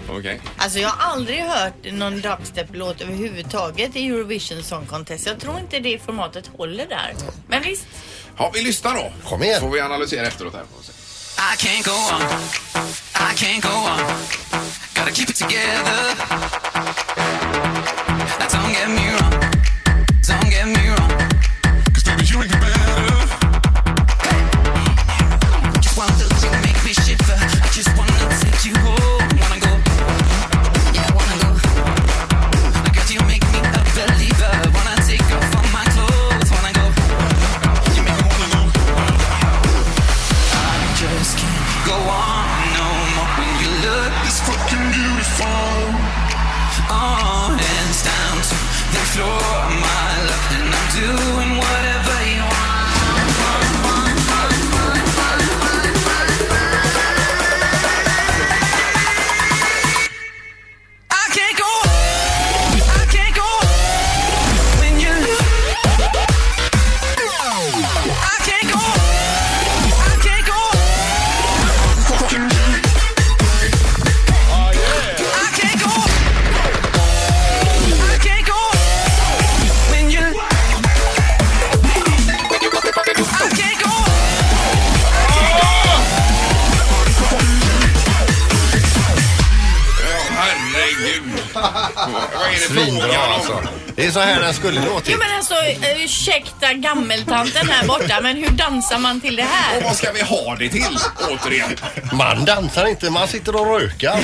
[SPEAKER 3] Okej.
[SPEAKER 4] Alltså jag har aldrig hört någon dubstep-låt överhuvudtaget i Eurovision Song Contest. Jag tror inte det formatet håller där. Men visst.
[SPEAKER 3] Ja, vi lyssnar då.
[SPEAKER 5] Kom igen.
[SPEAKER 3] får vi analysera efteråt här.
[SPEAKER 13] I can't go on. I can't go on. Gotta keep it together. Now don't get me wrong. Don't get me wrong. Cause baby, you ain't the better. Hey. Just one look you make me shiver. I just wanna take you home. Wanna go. Yeah, I wanna go. Now girl, you make me a believer. Wanna take off all my clothes. Wanna go. You make me wanna go. I just can't go on no more when you look this fucking beautiful. Oh, hands down to the floor, my love, and I'm doing whatever you want. I can't go on. I can't go on when you look. I can't go on. I can't go on. I can't go. I can't go when you. I can't go.
[SPEAKER 3] Herregud. Vad är det
[SPEAKER 5] Svinbra
[SPEAKER 3] frågan om?
[SPEAKER 5] alltså. Det är så här den skulle låtit.
[SPEAKER 4] Jo men alltså eh, ursäkta gammeltanten här borta men hur dansar man till det här?
[SPEAKER 3] Och vad ska vi ha det till? Återigen.
[SPEAKER 5] Man dansar inte, man sitter och rökar.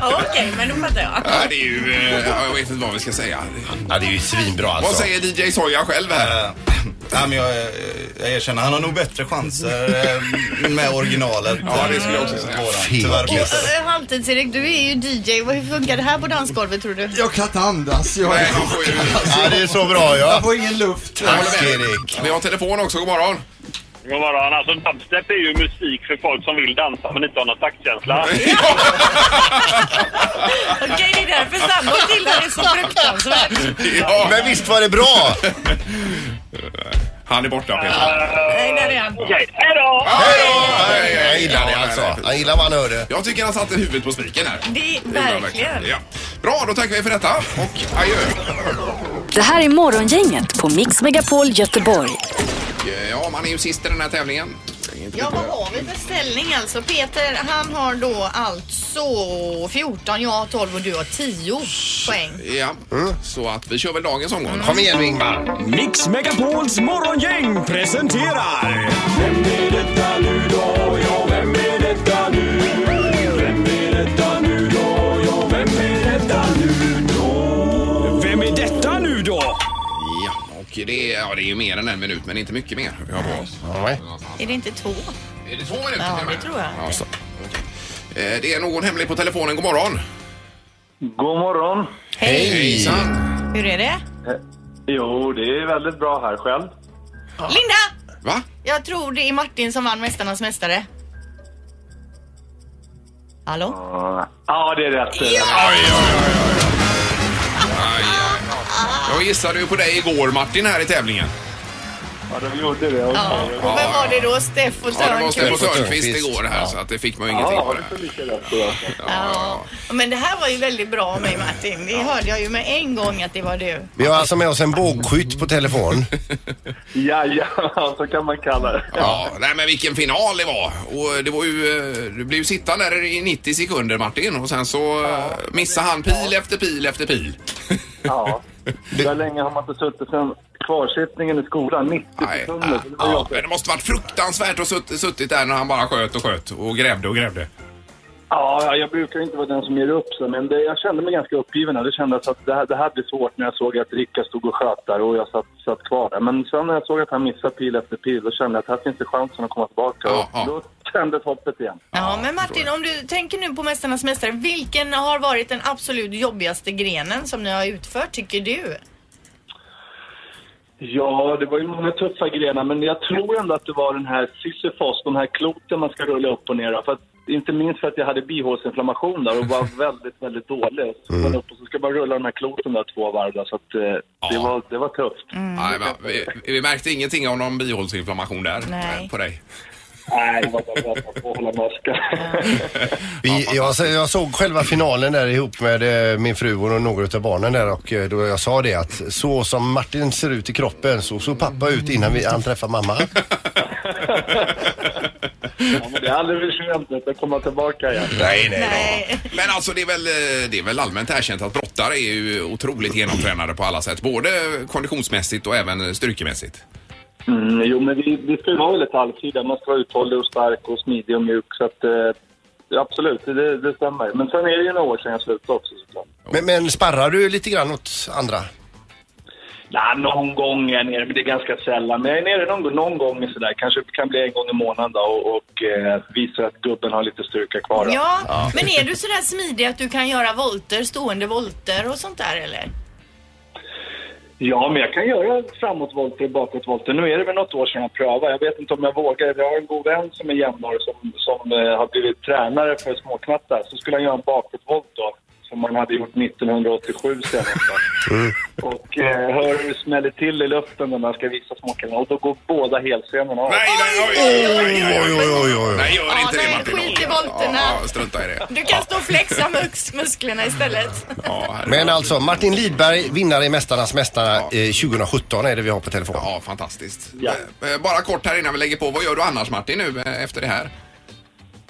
[SPEAKER 4] Ja, Okej, men då fattar jag.
[SPEAKER 3] Ja, det är ju... eh, ja, Jag vet inte vad vi ska säga.
[SPEAKER 5] Ja, det är ju svinbra alltså.
[SPEAKER 3] Vad säger DJ Soja själv här?
[SPEAKER 12] Nej, men jag, eh, jag erkänner, han har nog bättre chanser eh, med originalet. Ja, det skulle jag också säga. Tyvärr.
[SPEAKER 4] Och eh, Halvtids-Erik, du är ju DJ. Vad- Hur funkar det här på dansgolvet tror du?
[SPEAKER 14] Jag kan inte andas. Jag
[SPEAKER 3] Nej,
[SPEAKER 5] Ja, det är så bra ja.
[SPEAKER 14] Jag får ingen luft.
[SPEAKER 3] Tack Erik. Vi har telefon också. God morgon.
[SPEAKER 7] God morgon. Alltså, dubstep är ju musik för folk som vill dansa men inte har någon taktkänsla.
[SPEAKER 4] Okej, det är därför sambon gillar det så fruktansvärt.
[SPEAKER 5] Men visst var det bra?
[SPEAKER 3] Han är borta Peter.
[SPEAKER 4] Nej, där är han.
[SPEAKER 7] Okej, hej då!
[SPEAKER 3] Hej, hej,
[SPEAKER 5] Jag gillar det alltså. Jag gillar vad han hörde.
[SPEAKER 3] Jag tycker han satte huvudet på spiken här.
[SPEAKER 4] Det
[SPEAKER 3] Det gjorde han Ja. Bra, då tackar vi för detta och adjö.
[SPEAKER 1] Det här är Morgongänget på Mix Megapol Göteborg.
[SPEAKER 3] eh, Ja, man är ju sist i den här tävlingen.
[SPEAKER 4] Ja, vad har vi för ställning alltså? Peter, han har då alltså 14, jag har 12 och du har 10 poäng.
[SPEAKER 3] Ja,
[SPEAKER 5] Mm.
[SPEAKER 3] så att vi kör väl dagens omgång.
[SPEAKER 5] Kom igen nu Ingmar.
[SPEAKER 15] Mix Megapols morgongäng presenterar... Vem är detta nu då? Ja, vem är detta nu? Vem är detta nu då? Ja, vem är detta nu då? Vem är detta nu då?
[SPEAKER 3] Ja, och det, är- ja, det är ju mer än en minut, men inte mycket mer. Ja, bra.
[SPEAKER 4] Är det inte två?
[SPEAKER 3] Är det två minuter?
[SPEAKER 4] Ja, det tror jag.
[SPEAKER 3] Ja, så. Okej. Eh, Det är någon hemlig på telefonen. God morgon.
[SPEAKER 7] God morgon.
[SPEAKER 4] Hej.
[SPEAKER 3] Hejsan.
[SPEAKER 4] Hur är det?
[SPEAKER 7] Jo, det är väldigt bra här själv.
[SPEAKER 4] Linda!
[SPEAKER 3] Va?
[SPEAKER 4] Jag tror det är Martin som vann Mästarnas Mästare. Hallå?
[SPEAKER 7] Ja, det är rätt.
[SPEAKER 3] Jag gissade ju på dig igår Martin här i tävlingen.
[SPEAKER 7] Ja, de gjorde det.
[SPEAKER 4] Ja. Och vem var det då? Steff och
[SPEAKER 3] Ja, det var Stefan
[SPEAKER 4] Törnqvist?
[SPEAKER 3] Törnqvist igår här så att det fick man ju ingenting på det.
[SPEAKER 4] Ja. Men det här var ju väldigt bra av mig Martin. Det hörde jag ju med en gång att det var du.
[SPEAKER 5] Vi har alltså med oss en bågskytt på telefon.
[SPEAKER 3] Ja, så kan man kalla det. Ja, nej men vilken final det var. Och det var ju, eh, du blev ju sittande där i 90 sekunder Martin och sen så eh, missade han pil efter pil efter pil.
[SPEAKER 7] Ja. Hur länge har man inte suttit sen kvarsittningen i skolan? 90 sekunder. Det var
[SPEAKER 3] Ja,
[SPEAKER 7] jobbigt.
[SPEAKER 3] men det måste varit fruktansvärt att sutt, suttit där när han bara sköt och sköt och grävde och grävde.
[SPEAKER 7] Ja, ja, jag brukar ju inte vara den som ger upp så, men det, jag kände mig ganska uppgiven. här. Det kändes att det här, det här blir svårt när jag såg att Rickard stod och sköt där och jag satt, satt kvar där. Men sen när jag såg att han missade pil efter pil, då kände jag att här finns det chansen att komma tillbaka. Och då tändes hoppet igen.
[SPEAKER 4] Ja, men Martin, om du tänker nu på Mästarnas Mästare, vilken har varit den absolut jobbigaste grenen som ni har utfört, tycker du?
[SPEAKER 7] Ja, det var ju många tuffa grenar, men jag tror ändå att det var den här Sisyfos, de här kloten man ska rulla upp och ner. För att, inte minst för att jag hade bihålsinflammation där och var väldigt, väldigt dålig. Så man upp och så ska man rulla de här kloten där två varv där, så att, eh, det, var, det var tufft.
[SPEAKER 3] Nej, men, vi, vi märkte ingenting av någon bihålsinflammation där
[SPEAKER 7] Nej.
[SPEAKER 3] eh, på dig.
[SPEAKER 7] Nej, det var bara bra att hålla masken.
[SPEAKER 5] Vi, jag, så- jag såg själva finalen där ihop med eh, min fru och några utav barnen där och eh, då jag sa det att så som Martin ser ut i kroppen så såg pappa ut innan vi, han träffade mamma.
[SPEAKER 7] Ja, men det är aldrig för sent att komma tillbaka igen.
[SPEAKER 3] Nej, nej, nej. Men alltså det är, väl, eh, det är väl allmänt erkänt att brottare är ju otroligt genomtränade på alla sätt. Både konditionsmässigt och även styrkemässigt.
[SPEAKER 7] Mm, jo, men vi, vi ska ju vara lite allsidiga. Man ska vara uthållig och stark och smidig och mjuk. Så att, eh, absolut, det, det stämmer. Men sen är det ju några år sedan jag slutade också såklart.
[SPEAKER 5] Men, men sparrar du lite grann åt andra?
[SPEAKER 7] Nej, någon gång är jag nere, men det är ganska sällan. Men jag är nere någon, någon gång i sådär. Kanske kan bli en gång i månaden då, och, och eh, visa att gubben har lite styrka kvar. då.
[SPEAKER 4] Ja, men är du sådär smidig att du kan göra volter, stående volter och sånt där eller?
[SPEAKER 7] Ja, men jag kan göra framåtvolter och bakåtvolter. Nu är det väl något år sedan jag prövade. Jag vet inte om jag vågar. Jag har en god vän som är jämnårig som, som eh, har blivit tränare för småknattar. Så skulle han göra en bakåtvolt då, som han hade gjort 1987 senast. då. Och eh, hör hur det smäller till i luften när man ska visa småknattarna. Och då går båda helsenorna av.
[SPEAKER 5] Oj, oj, oj, oj.
[SPEAKER 3] Nej, gör inte det Martin.
[SPEAKER 4] Skit i volterna!
[SPEAKER 3] Ja, strunta i det.
[SPEAKER 4] Du kan stå och flexa mus- musklerna istället.
[SPEAKER 5] Men alltså Martin Lidberg, vinnare i Mästarnas Mästare eh, 2017 är det vi har på telefon.
[SPEAKER 3] Ja, fantastiskt. Eh, Bara kort här innan vi lägger på. Vad gör du annars Martin nu eh, efter det här?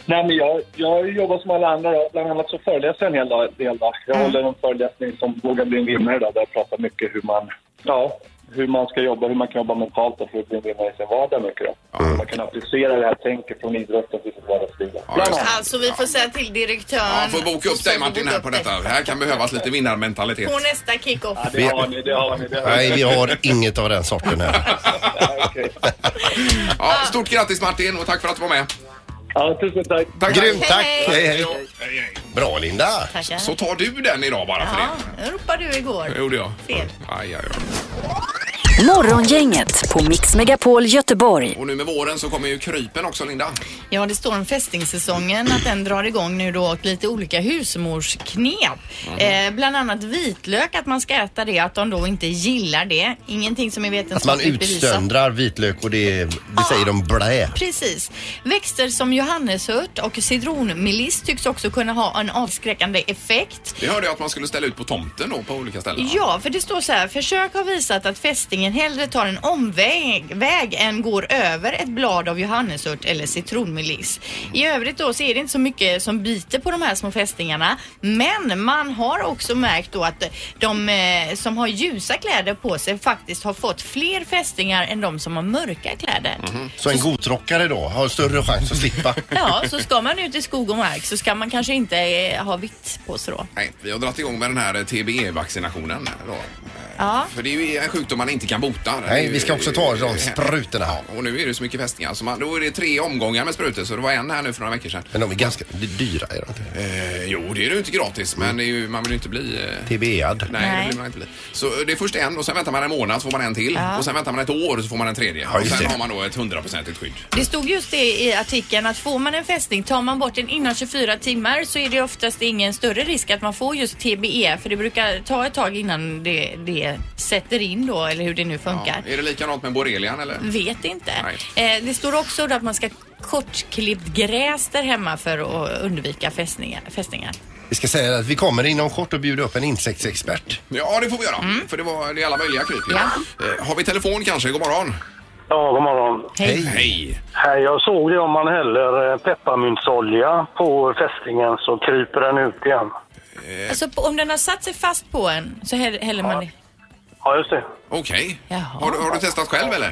[SPEAKER 7] Nej, men jag, jag jobbar som alla andra. då. Bland annat så föreläser jag en hel dag. Del dag. Jag håller en föreläsning som Våga bli en vinnare idag, där jag pratar mycket hur man, ja, hur man ska jobba, hur man kan jobba mentalt då för att bli en vinnare i sin vardag mycket. Då. Hur Man kan applicera det här tänket från idrotten till sitt vardagsliv. Bland annat.
[SPEAKER 4] Alltså vi får säga till direktören.
[SPEAKER 3] Ja, får boka upp dig Martin här på detta. Här kan behövas lite vinnarmentalitet.
[SPEAKER 4] På nästa kick-off.
[SPEAKER 5] det har
[SPEAKER 7] ni, det har ni.
[SPEAKER 5] Nej, vi har inget av den sorten här.
[SPEAKER 3] Ja, stort grattis Martin och tack för att du var med.
[SPEAKER 7] Ja, tusen tack.
[SPEAKER 5] Grymt, tack.
[SPEAKER 4] Hej,
[SPEAKER 5] Hej,
[SPEAKER 4] hej.
[SPEAKER 5] hej. Bra Linda.
[SPEAKER 4] Tackar.
[SPEAKER 3] Så tar du den idag bara för det.
[SPEAKER 4] Det ropade du
[SPEAKER 3] Det
[SPEAKER 4] igår.
[SPEAKER 3] gjorde jag.
[SPEAKER 4] Fel.
[SPEAKER 3] Aj, aj, aj.
[SPEAKER 1] Morgongänget på Mix Megapol Göteborg.
[SPEAKER 3] Och nu med våren så kommer ju krypen också Linda.
[SPEAKER 4] Ja, det står om fästingssäsongen att den drar igång nu då och lite olika husmorsknep.
[SPEAKER 3] Mm.
[SPEAKER 4] Eh, bland annat vitlök, att man ska äta det, att de då inte gillar det. Ingenting som är
[SPEAKER 5] Att man
[SPEAKER 4] vetenskapligt bevisat.
[SPEAKER 5] utsöndrar vitlök och det, det säger de blä.
[SPEAKER 4] Precis. Växter som johannesört och citronmeliss tycks också kunna ha en avskräckande effekt.
[SPEAKER 3] Det hörde jag att man skulle ställa ut på tomten då på olika ställen.
[SPEAKER 4] Ja, för det står så här. Försök har visat att fästingen hellre tar en omväg väg än går över ett blad av johannesört eller citronmeliss. I övrigt då så är det inte så mycket som biter på de här små fästingarna. Men man har också märkt då att de eh, som har ljusa kläder på sig faktiskt har fått fler fästingar än de som har mörka kläder.
[SPEAKER 5] Så en godtrockare då har större chans att slippa.
[SPEAKER 4] Ja, så ska man ut i skog och mark så ska man kanske inte eh, ha vitt på sig då.
[SPEAKER 3] Nej, vi har dragit igång med den här TBE-vaccinationen. Då.
[SPEAKER 4] Ja.
[SPEAKER 3] För det är ju en sjukdom man inte kan bota. Det är
[SPEAKER 5] Nej,
[SPEAKER 3] ju-
[SPEAKER 5] vi ska också ta de sprutorna.
[SPEAKER 3] Ja, och nu är det så mycket fästingar. Så man, då är det tre omgångar med sprutor, så det var en här nu för några veckor sedan.
[SPEAKER 5] Men de är ganska det är dyra. Är de
[SPEAKER 3] Eh,
[SPEAKER 5] inte?
[SPEAKER 3] jo, det är ju inte gratis, men det är ju, man vill ju inte bli... Eh,
[SPEAKER 5] TBEad.
[SPEAKER 3] Nej, det vill man inte bli. Så eh, det är först en och sen väntar man en månad så får man en till.
[SPEAKER 4] Ja.
[SPEAKER 3] Och sen väntar man ett år så får man en tredje. och
[SPEAKER 5] just
[SPEAKER 3] sen
[SPEAKER 5] det.
[SPEAKER 3] har man då ett hundraprocentigt skydd.
[SPEAKER 4] Det stod just det i artikeln att får man en fästing, tar man bort den innan 24 timmar E, så är det oftast ingen större risk att man får just TBE för det brukar ta ett tag innan det, det det sätter in då eller hur det nu funkar.
[SPEAKER 3] Är det likadant med borrelian eller?
[SPEAKER 4] Vet inte.
[SPEAKER 3] Nej.
[SPEAKER 4] Eh, det står också då att man ska kortklippt gräs där hemma för att undvika fästningar. fästningar.
[SPEAKER 5] Vi ska säga att vi kommer inom kort och bjuda upp en insektsexpert.
[SPEAKER 3] Ja, det får vi göra. För det, var, det är alla möjliga kryp. ju. Eh, har vi telefon kanske? God morgon.
[SPEAKER 16] Ja, god morgon.
[SPEAKER 3] Hej.
[SPEAKER 16] Hej, jag såg det om man häller eh, pepparmyntsolja på fästingen så kryper den ut igen.
[SPEAKER 4] Alltså på- om den har satt sig fast på en så häll- häller man det.
[SPEAKER 16] Ja, just det.
[SPEAKER 3] Okej. Har, du- har du testat själv eller?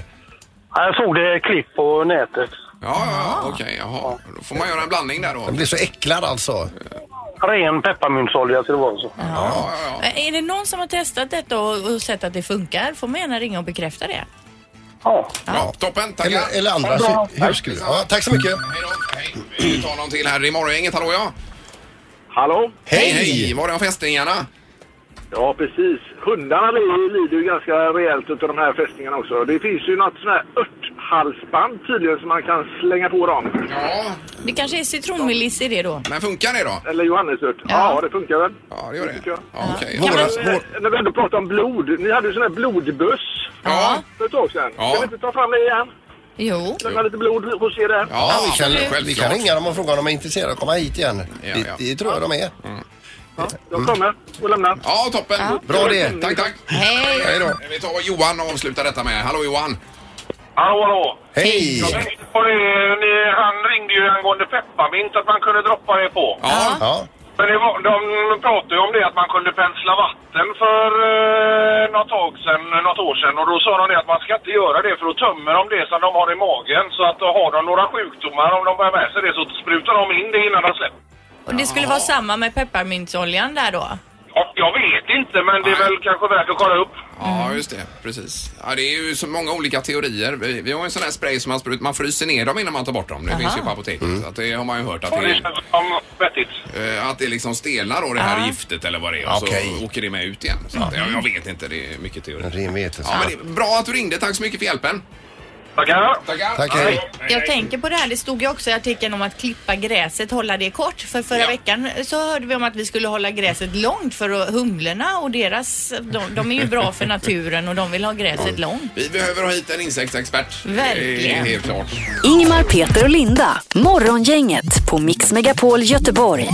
[SPEAKER 16] Ja, Jag såg det i klipp på nätet.
[SPEAKER 3] Ja, ja, okej. jaha. Då får man göra en blandning där då.
[SPEAKER 5] Den blir så äcklad alltså.
[SPEAKER 16] Ren pepparmyntsolja ska det vara. Så.
[SPEAKER 4] Eh, Är det någon som har testat detta och, och sett att det funkar får man gärna ringa och bekräfta det.
[SPEAKER 16] Ja.
[SPEAKER 3] Ja, toppen. Tackar.
[SPEAKER 5] Eller, eller andra
[SPEAKER 3] Bra.
[SPEAKER 5] hur- hur skulle ja, Tack så mycket.
[SPEAKER 3] Vi tar någon till här i morgongänget. Hallå ja.
[SPEAKER 17] Hallå?
[SPEAKER 3] Hej, hej. Var det om fästingarna?
[SPEAKER 17] Ja, precis. Hundarna blir- lider ju ganska rejält utav de här fästingarna också. Det finns ju något sånt här örthalsband tydligen som man kan slänga på dem.
[SPEAKER 3] Ja.
[SPEAKER 4] Det kanske är citronmeliss i det då.
[SPEAKER 3] Men funkar det då?
[SPEAKER 17] Eller johannesört. Ja. det funkar väl.
[SPEAKER 3] Ja, det gör det.
[SPEAKER 17] tycker jag.
[SPEAKER 3] okej.
[SPEAKER 17] Kan
[SPEAKER 3] Våra-
[SPEAKER 17] man, eh, När vi ändå pratar om blod. Ni hade ju sån här blodbuss.
[SPEAKER 3] Ja.
[SPEAKER 17] För ett tag sedan.
[SPEAKER 5] Ja.
[SPEAKER 17] Kan vi inte ta fram det igen?
[SPEAKER 4] Jo.
[SPEAKER 17] Lämna lite blod hos er där.
[SPEAKER 5] Ja, vi kan, vi kan ringa dem och fråga om de är intresserade att komma hit igen. det, det tror jag de är.
[SPEAKER 17] Jag kommer och lämnar.
[SPEAKER 3] Ja, toppen.
[SPEAKER 5] Bra det.
[SPEAKER 3] Tack, tack.
[SPEAKER 4] Hej.
[SPEAKER 3] Hej då. Vi tar Johan och avslutar detta med. Hallå Johan.
[SPEAKER 17] Hallå, hallå.
[SPEAKER 5] Hej.
[SPEAKER 17] Jag tänkte på det, ni, han ringde ju angående pepparmint att man kunde droppa det på.
[SPEAKER 3] Ja.
[SPEAKER 17] Men det var, de pratade ju om det att man kunde pensla vatten för eh, något, tag sedan, något år sedan och då sa de det att man ska inte göra det för då tömmer de det som de har i magen så att då har de några sjukdomar om de bär med sig det så sprutar de in det innan de släpper.
[SPEAKER 4] Och det skulle vara samma med pepparmyntsoljan där då.
[SPEAKER 17] Ja, Jag vet inte men det är väl kanske värt att kolla upp.
[SPEAKER 3] Ja, just det. Precis. Ja, det är ju så många olika teorier. Vi, vi har ju en sån här spray som man sprutar. Man fryser ner dem innan man tar bort dem. Det finns ju på apoteket. Så att det har man ju hört att
[SPEAKER 17] Och det
[SPEAKER 3] det,
[SPEAKER 17] känns som vettigt.
[SPEAKER 3] eh, att det liksom stelnar då det här
[SPEAKER 17] Ja.
[SPEAKER 3] giftet eller vad det är. Och
[SPEAKER 5] Okej.
[SPEAKER 3] så åker det med ut igen. Så att, jag, jag vet inte. Det är mycket teorier.
[SPEAKER 5] Ren vetenskap.
[SPEAKER 3] Ja, men det är bra att du ringde. Tack så mycket för hjälpen.
[SPEAKER 17] Tackar.
[SPEAKER 3] Tackar.
[SPEAKER 5] Tack, hej.
[SPEAKER 4] Jag tänker på det här, det stod ju också i artikeln om att klippa gräset, hålla det kort. För förra veckan så hörde vi om att vi skulle hålla gräset långt för att humlorna och deras, de, de är ju bra för naturen och de vill ha gräset långt.
[SPEAKER 3] Vi behöver ha hit en insektsexpert.
[SPEAKER 4] Verkligen.
[SPEAKER 3] Det är helt klart.
[SPEAKER 1] Ingmar, Peter och Linda. Morgongänget på Mix Megapol Göteborg.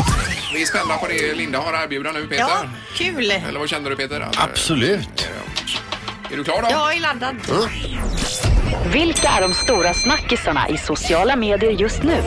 [SPEAKER 3] Vi är spända på det Linda har att erbjuda nu, Peter.
[SPEAKER 4] Ja, kul.
[SPEAKER 3] Eller vad känner du, Peter?
[SPEAKER 5] Absolut.
[SPEAKER 3] Är du klar då?
[SPEAKER 4] Jag är laddad.
[SPEAKER 1] Vilka är de stora snackisarna i sociala medier just nu?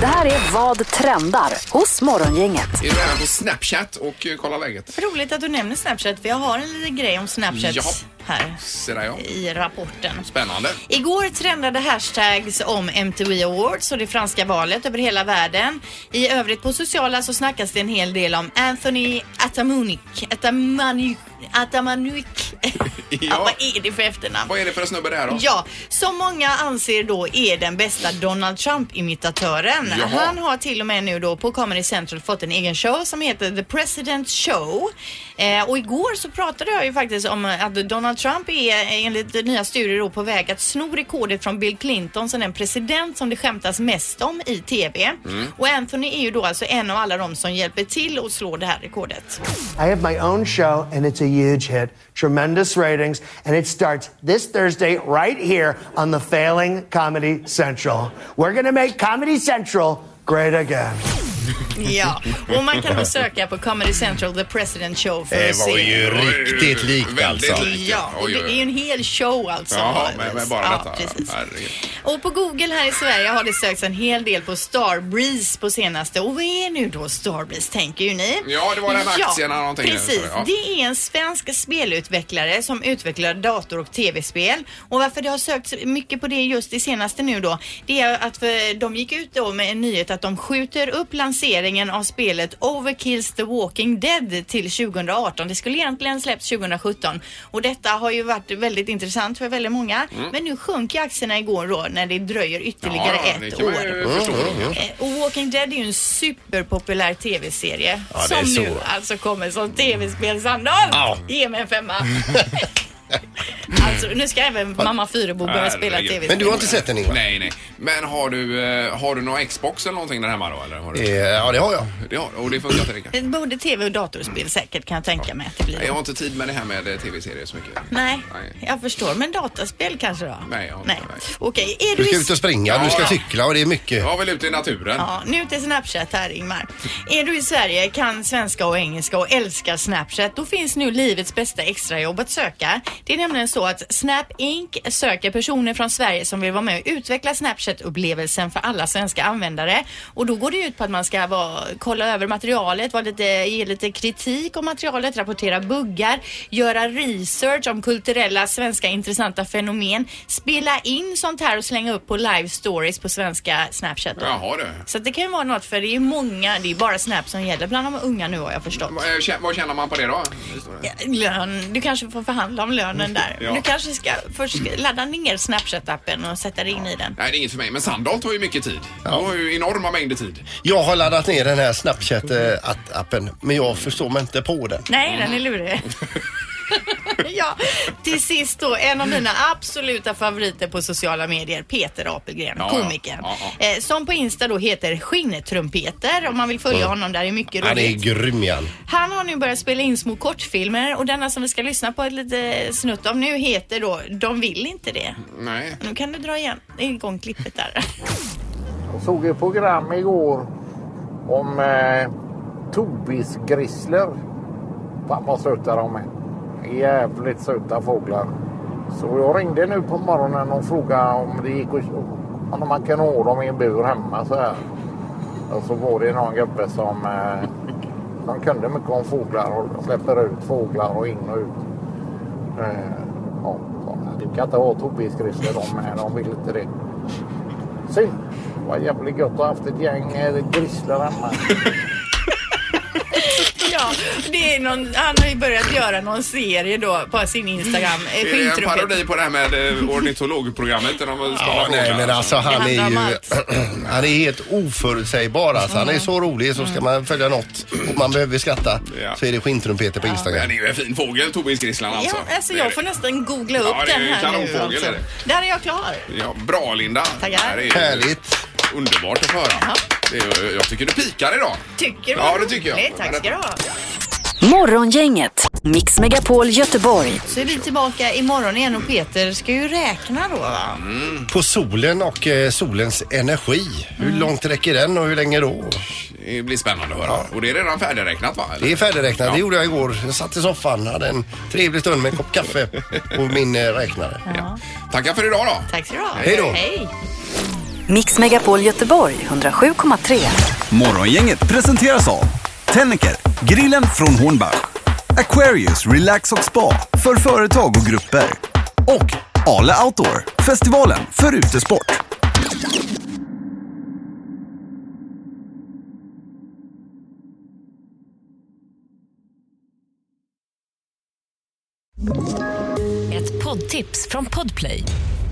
[SPEAKER 1] Det här är Vad trendar hos Morgongänget.
[SPEAKER 3] Är du även på Snapchat och eh, kollar läget?
[SPEAKER 4] Roligt att du nämner Snapchat för jag har en liten grej om Snapchat
[SPEAKER 3] Ja.
[SPEAKER 4] här
[SPEAKER 3] Se där ja.
[SPEAKER 4] i rapporten.
[SPEAKER 3] Spännande.
[SPEAKER 4] Igår trendade hashtags om MTV Awards och det franska valet över hela världen. I övrigt på sociala så snackas det en hel del om Anthony Atamunik. Atamanuk. Atamanuk.
[SPEAKER 3] Ja.
[SPEAKER 4] vad är det för efternamn?
[SPEAKER 3] Vad är det för en snubbe det här då?
[SPEAKER 4] Ja, som många anser då är den bästa Donald Trump-imitatören.
[SPEAKER 3] Jaha.
[SPEAKER 4] Han har till och med nu då på Comedy Central fått en egen show som heter The President Show. Eh, och igår så pratade jag ju faktiskt om att Donald Trump är enligt nya studier då på väg att sno rekordet från Bill Clinton som den president som det skämtas mest om i TV.
[SPEAKER 18] Mm.
[SPEAKER 4] Och Anthony är ju då alltså en av alla de som hjälper till att slå det här rekordet.
[SPEAKER 18] I have my own show, and it's a huge hit. Tremendous ratings, and it starts this Thursday right here on the failing Comedy Central. We're going to make Comedy Central great again.
[SPEAKER 4] Ja, och man kan då söka på Comedy Central The President Show för att se.
[SPEAKER 5] riktigt likt
[SPEAKER 4] alltså. Ja, och det är ju en hel show alltså.
[SPEAKER 3] Jaha, men, men bara
[SPEAKER 4] Ja,
[SPEAKER 3] detta.
[SPEAKER 4] precis.
[SPEAKER 3] Herregud.
[SPEAKER 4] Och på Google här i Sverige har det sökts en hel del på Starbreeze på senaste. Och vad är nu då Starbreeze tänker ju ni?
[SPEAKER 3] Ja, det var den här aktien eller någonting.
[SPEAKER 4] Precis,
[SPEAKER 3] Ja.
[SPEAKER 4] det är en svensk spelutvecklare som utvecklar dator och tv-spel. Och varför det har sökts mycket på det just det senaste nu då, det är att för, de gick ut då med en nyhet att de skjuter upp lanseringen av spelet Overkills The Walking Dead till 2018. Det skulle egentligen släppts 2017 och detta har ju varit väldigt intressant för väldigt många.
[SPEAKER 3] Mm.
[SPEAKER 4] Men nu sjönk ju aktierna igår då när det dröjer ytterligare
[SPEAKER 3] Ja, det
[SPEAKER 4] ett
[SPEAKER 3] kan man
[SPEAKER 4] år.
[SPEAKER 3] ju
[SPEAKER 5] Mm,
[SPEAKER 3] förstå.
[SPEAKER 4] Eh, Och Walking Dead är ju en superpopulär tv-serie
[SPEAKER 3] Ja, det är
[SPEAKER 4] som
[SPEAKER 3] så.
[SPEAKER 4] nu alltså kommer som tv-spel. Sandholt,
[SPEAKER 3] Ja.
[SPEAKER 4] ge mig en femma. så Alltså, nu ska även mamma Fyrebo börja spela
[SPEAKER 3] Herregud.
[SPEAKER 4] tv
[SPEAKER 5] den Ingvar?
[SPEAKER 3] Nej, nej. Men har du, eh, har du någon Xbox eller någonting där hemma då? Eller har du?
[SPEAKER 5] Eh, ja, det har jag.
[SPEAKER 3] Det har, och det funkar inte riktigt.
[SPEAKER 4] Både tv och datorspel säkert kan jag tänka mig att det
[SPEAKER 3] Nej, Jag
[SPEAKER 4] blir.
[SPEAKER 3] har inte tid med det här med eh, tv-serier så mycket.
[SPEAKER 4] Nej, jag förstår. Men dataspel kanske då?
[SPEAKER 3] Nej, jag har
[SPEAKER 4] Nej. Okej, är
[SPEAKER 5] Du
[SPEAKER 4] du
[SPEAKER 5] ska
[SPEAKER 4] i
[SPEAKER 5] ut och springa, du ska cykla och det är mycket.
[SPEAKER 3] Jag vill ut i naturen.
[SPEAKER 4] Ja, nu till Snapchat här Ingmar. Är du i Sverige, kan svenska och engelska och älskar Snapchat, då finns nu livets bästa extrajobb att söka. Det är nämligen så att Snap Inc söker personer från Sverige som vill vara med och utveckla Snapchat-upplevelsen för alla svenska användare. Och då går det ut på att man ska vara, kolla över materialet, vara lite, ge lite kritik om materialet, rapportera buggar, göra research om kulturella svenska intressanta fenomen, spela in sånt här och slänga upp på live stories på svenska Snapchat. då.
[SPEAKER 3] Jaha du.
[SPEAKER 4] Så att det kan ju vara något för det är många, det är bara Snap som gäller bland de unga nu har jag förstått.
[SPEAKER 3] Eh, tjä- Vad tjänar man på det då?
[SPEAKER 4] Lön, du kanske får förhandla om lönen där.
[SPEAKER 3] Ja.
[SPEAKER 4] Du kanske ska först ladda ner Snapchat-appen och sätta dig in i den.
[SPEAKER 3] Nej, det är inget för mig. Men Sandholt har ju mycket tid. Hon har ju enorma mängder tid.
[SPEAKER 5] Jag har laddat ner den här Snapchat-appen men jag förstår mig inte på den.
[SPEAKER 4] Nej, den är lurig. ja, till sist då en av mina absoluta favoriter på sociala medier, Peter Apelgren,
[SPEAKER 5] Ja, ja.
[SPEAKER 4] komikern. Eh, som på Insta då heter Skinntrumpetern. Om man vill följa
[SPEAKER 5] Mm.
[SPEAKER 4] honom där, det är mycket roligt.
[SPEAKER 5] Han är grym igen.
[SPEAKER 4] Han har nu börjat spela in små kortfilmer och denna som vi ska lyssna på ett litet snutt av nu heter då De vill inte det.
[SPEAKER 3] Nej.
[SPEAKER 4] Nu kan du dra igen, igång klippet där.
[SPEAKER 19] Jag såg ett program igår om eh, Tobisgrisslor. Fan vad söta de är. Jävligt söta fåglar. Så jag ringde nu på morgonen och frågade om det gick att, om man kan ha dem i en bur hemma så här. Och så var det någon gubbe som eh, de kunde mycket om fåglar och släpper ut fåglar och in och ut. Eh, ja, du kan inte ha Tobisgrisslor de med, de vill inte det. Synd. Det var jävligt gott att ha haft ett gäng eh, grisslor hemma.
[SPEAKER 4] Ja, det är någon, han har ju börjat göra någon serie då på sin Instagram. eh,
[SPEAKER 3] Är Mm. det en
[SPEAKER 4] Skinntrumpet.
[SPEAKER 3] parodi på det här med eh, ornitologprogrammet? Där de
[SPEAKER 5] Ja,
[SPEAKER 3] ja,
[SPEAKER 5] nej, men alltså han är ju... Han är helt oförutsägbar alltså. Han är så rolig så ska man följa något och man behöver skratta så är det skintrumpeter på Instagram.
[SPEAKER 3] Men det är ju en fin fågel, Tobisgrisslan alltså.
[SPEAKER 4] Ja, alltså jag får nästan googla upp
[SPEAKER 3] Ja, det är
[SPEAKER 4] den
[SPEAKER 3] ju
[SPEAKER 4] här nu.
[SPEAKER 3] kanonfågel,
[SPEAKER 4] Alltså.
[SPEAKER 3] är det.
[SPEAKER 4] Där är jag klar.
[SPEAKER 3] Ja, bra Linda.
[SPEAKER 4] Tackar.
[SPEAKER 3] Det här är ju
[SPEAKER 5] Härligt.
[SPEAKER 3] Underbart att höra. Det är, jag tycker du pikar idag.
[SPEAKER 4] Tycker du?
[SPEAKER 3] Ja, det tycker jag.
[SPEAKER 4] Nej, tack ska du ha.
[SPEAKER 1] Morgongänget, Mix Megapol Göteborg.
[SPEAKER 4] Så är vi tillbaka imorgon igen och Peter ska ju räkna då va?
[SPEAKER 5] På solen och eh, solens energi. Hur långt räcker den och hur länge då?
[SPEAKER 3] Det blir spännande att höra. Och det är redan färdigräknat va? Eller?
[SPEAKER 5] Det är färdigräknat.
[SPEAKER 3] Ja.
[SPEAKER 5] Det gjorde jag igår. Jag satt i soffan, hade en trevlig stund med en kopp kaffe på min eh, räknare.
[SPEAKER 3] Tackar för idag då.
[SPEAKER 4] Tack så du ha.
[SPEAKER 5] Hej då.
[SPEAKER 4] Hej.
[SPEAKER 1] Mix Megapol Göteborg 107,3.
[SPEAKER 2] Morgongänget presenteras av Tennicker, grillen från Hornbach, Aquarius Relax och Spa för företag och grupper och Ale Outdoor, festivalen för utesport.
[SPEAKER 20] Ett poddtips från Podplay.